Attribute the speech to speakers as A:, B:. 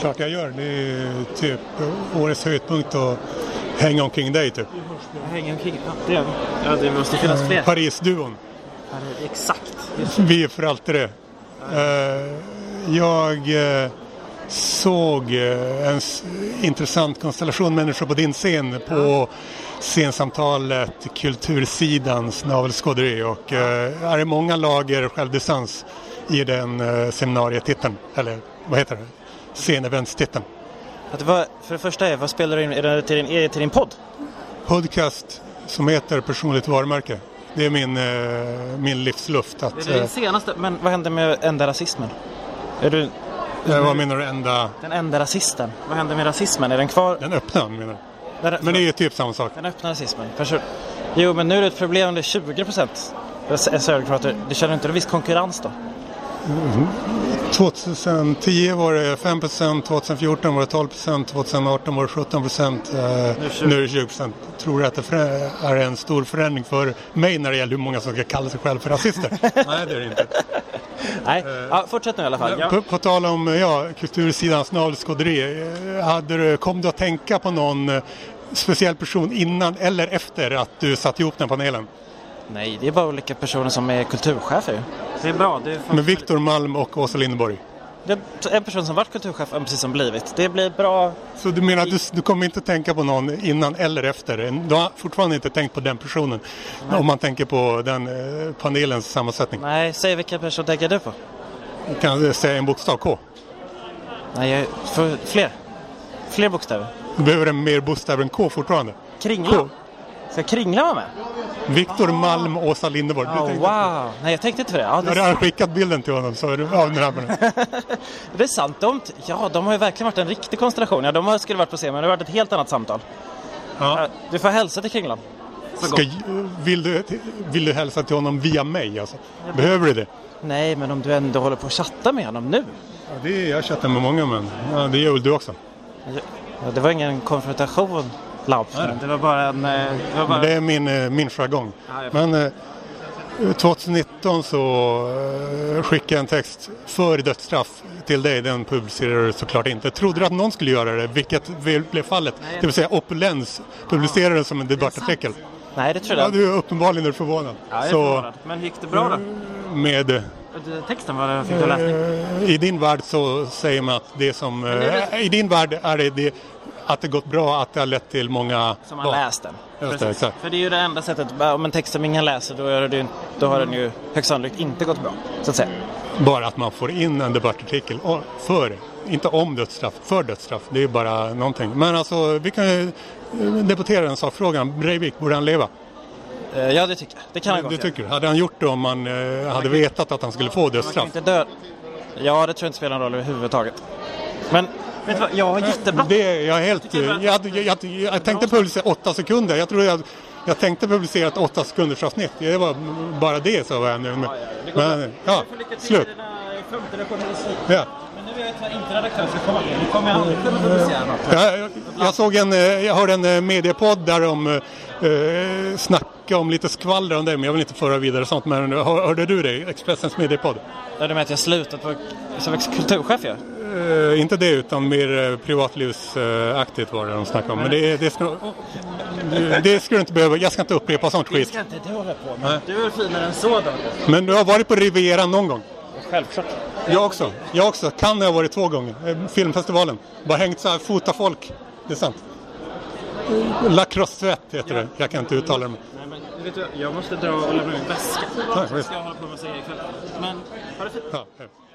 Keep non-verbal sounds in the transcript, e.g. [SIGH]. A: klart jag gör. Det är typ årets höjdpunkt att hänga omkring dig typ. Eh,
B: Hänga omkring? Ja, det gör vi. Ja, det måste finnas fler.
A: Parisduon.
B: Paris, Exakt. Just det.
A: Vi är för alltid det. Eh, jag eh, såg eh, en s- intressant konstellation människor på din scen på scensamtalet Kultursidans navelskåderi och eh, är det många lager självdistans i den eh, seminarietiteln, eller vad heter det? Sceneventstiteln.
B: Att vad, för det första är, vad spelar du in? Är det till din, är det till din podd?
A: Podcast som heter Personligt varumärke. Det är min, eh, min livsluft att...
B: Det är
A: Eh,
B: din senaste, men vad hände med enda rasismen? Är du
A: eh, det var min enda...
B: den enda rasisten? Vad hände med rasismen? Är den kvar?
A: Den öppna menar jag.
B: Den,
A: Men det är ju typ samma sak.
B: den öppna rasismen? Person. Jo, men nu är det ett problem om det är 20 procent sverigedemokrater. Du känner inte en viss konkurrens då?
A: 2010 var det 5 2014 var det 12 2018 var det 17 eh, nu är det 20 Tror du att det frä- är en stor förändring för mig när det gäller hur många som ska kalla sig själv för rasister? [LAUGHS] Nej, det är det inte.
B: Nej, ja, fortsätt nu i alla fall. Eh. Ja.
A: På, på tal om ja, kultursidans navelskåderi, eh, hade du- kom du att tänka på någon eh, speciell person innan eller efter att du satte ihop den panelen?
B: Nej, det är bara olika personer som är kulturchefer ju. Det är bra. Det är fan-
A: Med Viktor Malm och Åsa Linderborg.
B: Det är en person som varit kulturchef och precis som blivit. Det blir bra.
A: Så du menar att du, du kommer inte tänka på någon innan eller efter? Du har fortfarande inte tänkt på den personen? Om man tänker på den eh, panelens sammansättning.
B: Nej, säg vilken person tänker du på?
A: Kan jag säga en bokstav K?
B: Nej, jag, för, fler. Fler bokstäver.
A: Du behöver en mer bokstav än K fortfarande.
B: Kringla. Ska Kringla vara med?
A: Viktor Malm, Åsa Linderborg. Du
B: Oh,
A: tänkte-
B: wow! Nej, jag tänkte inte på det. Ja,
A: Jag har
B: det,
A: redan skickat bilden till honom. Så är du av den här med den.
B: det är sant. De, t- ja, de har ju verkligen varit en riktig konstellation. Ja, de har- skulle varit på scen, men det har varit ett helt annat samtal. [LAUGHS]
A: Ja.
B: Ja, Du får hälsa till Kringlan.
A: Ska, vill, du, vill du hälsa till honom via mig? Alltså? Behöver du det?
B: Nej, men om du ändå håller på att chatta med honom nu.
A: Ja, det jag chattar med många men ja, det gör väl du också?
B: Ja, det var ingen konfrontation, Laup. Det var bara en... eh, Det var bara...
A: Det är min, eh, min jargong.
B: Ja, jag
A: Men eh, 2019 så eh, skickade jag en text för dödsstraff till dig. Den publicerade du såklart inte. Trodde du att någon skulle göra det, vilket väl blev fallet? Det vill säga Opulens publicerade den som en debattartikel.
B: Nej, det tror
A: Ja,
B: jag.
A: du är uppenbarligen förvånad. så
B: Men gick det bra då?
A: med,
B: Texten, var fick du läsning?
A: eh, I din värld så säger man att det som... eh,
B: är
A: I din värld är det, det att det gått bra, att det har lett till många...
B: Som har läst den.
A: Just det,
B: Precis.
A: exakt.
B: För det är ju det enda sättet, om en text som ingen läser då, är det, ju- då har den ju högst sannolikt inte gått bra. Så att säga.
A: Bara att man får in en debattartikel o- för, inte om dödsstraff, för dödsstraff. Det är bara någonting. Men alltså, vi kan ju eh, debattera den sakfrågan. Breivik, borde han leva?
B: Eh, Ja, det tycker jag. Det kan han
A: Det
B: gott
A: tycker du? Hade han gjort det om man eh, hade vetat att han skulle få
B: göra.
A: dödsstraff?
B: Inte dö. Ja, det tror jag inte spelar någon roll överhuvudtaget. Men, vet du vad? Jag har jättebra.
A: Det, jag, är helt, eh, jag, jag, jag, jag tänkte publicera åtta sekunder. Jag, tror jag, jag tänkte publicera ett åtta sekunders avsnitt. Det var bara det så var jag nu. Men, men ja, slut. Ja.
B: Men nu är jag inte redaktör för Karl. Nu kommer jag aldrig kunna publicera något.
A: Jag, jag- jag, såg en, eh, jag hörde en eh, mediepodd där de eh, eh, snackade om lite skvaller om det, men jag vill inte föra vidare sånt. Men hör, hörde du det? Expressens mediepodd?
B: Ja, du menar att jag slutat på, som kulturchef ju?
A: Eh, inte det, utan mer eh, privatlivsaktigt var det de snackade om. Men det, det, ska, det- det ska du inte behöva. Jag ska inte upprepa sånt
B: Det
A: skit.
B: ska inte du hålla på med. Du är väl finare än så då?
A: Men du har varit på Riviera någon gång?
B: Självklart.
A: Jag också. Jag också. Kan jag har varit två gånger. Eh, Filmfestivalen. Bara hängt så här, fota folk. Det är sant. Lacrosse heter det. Jag kan inte uttala det. men-
B: Nej, men vet du, jag måste dra och lämna min väska.
A: Tack, visst.
B: Jag håller på med att säga ikväll. Men, ha det fint.
A: Ja, hej.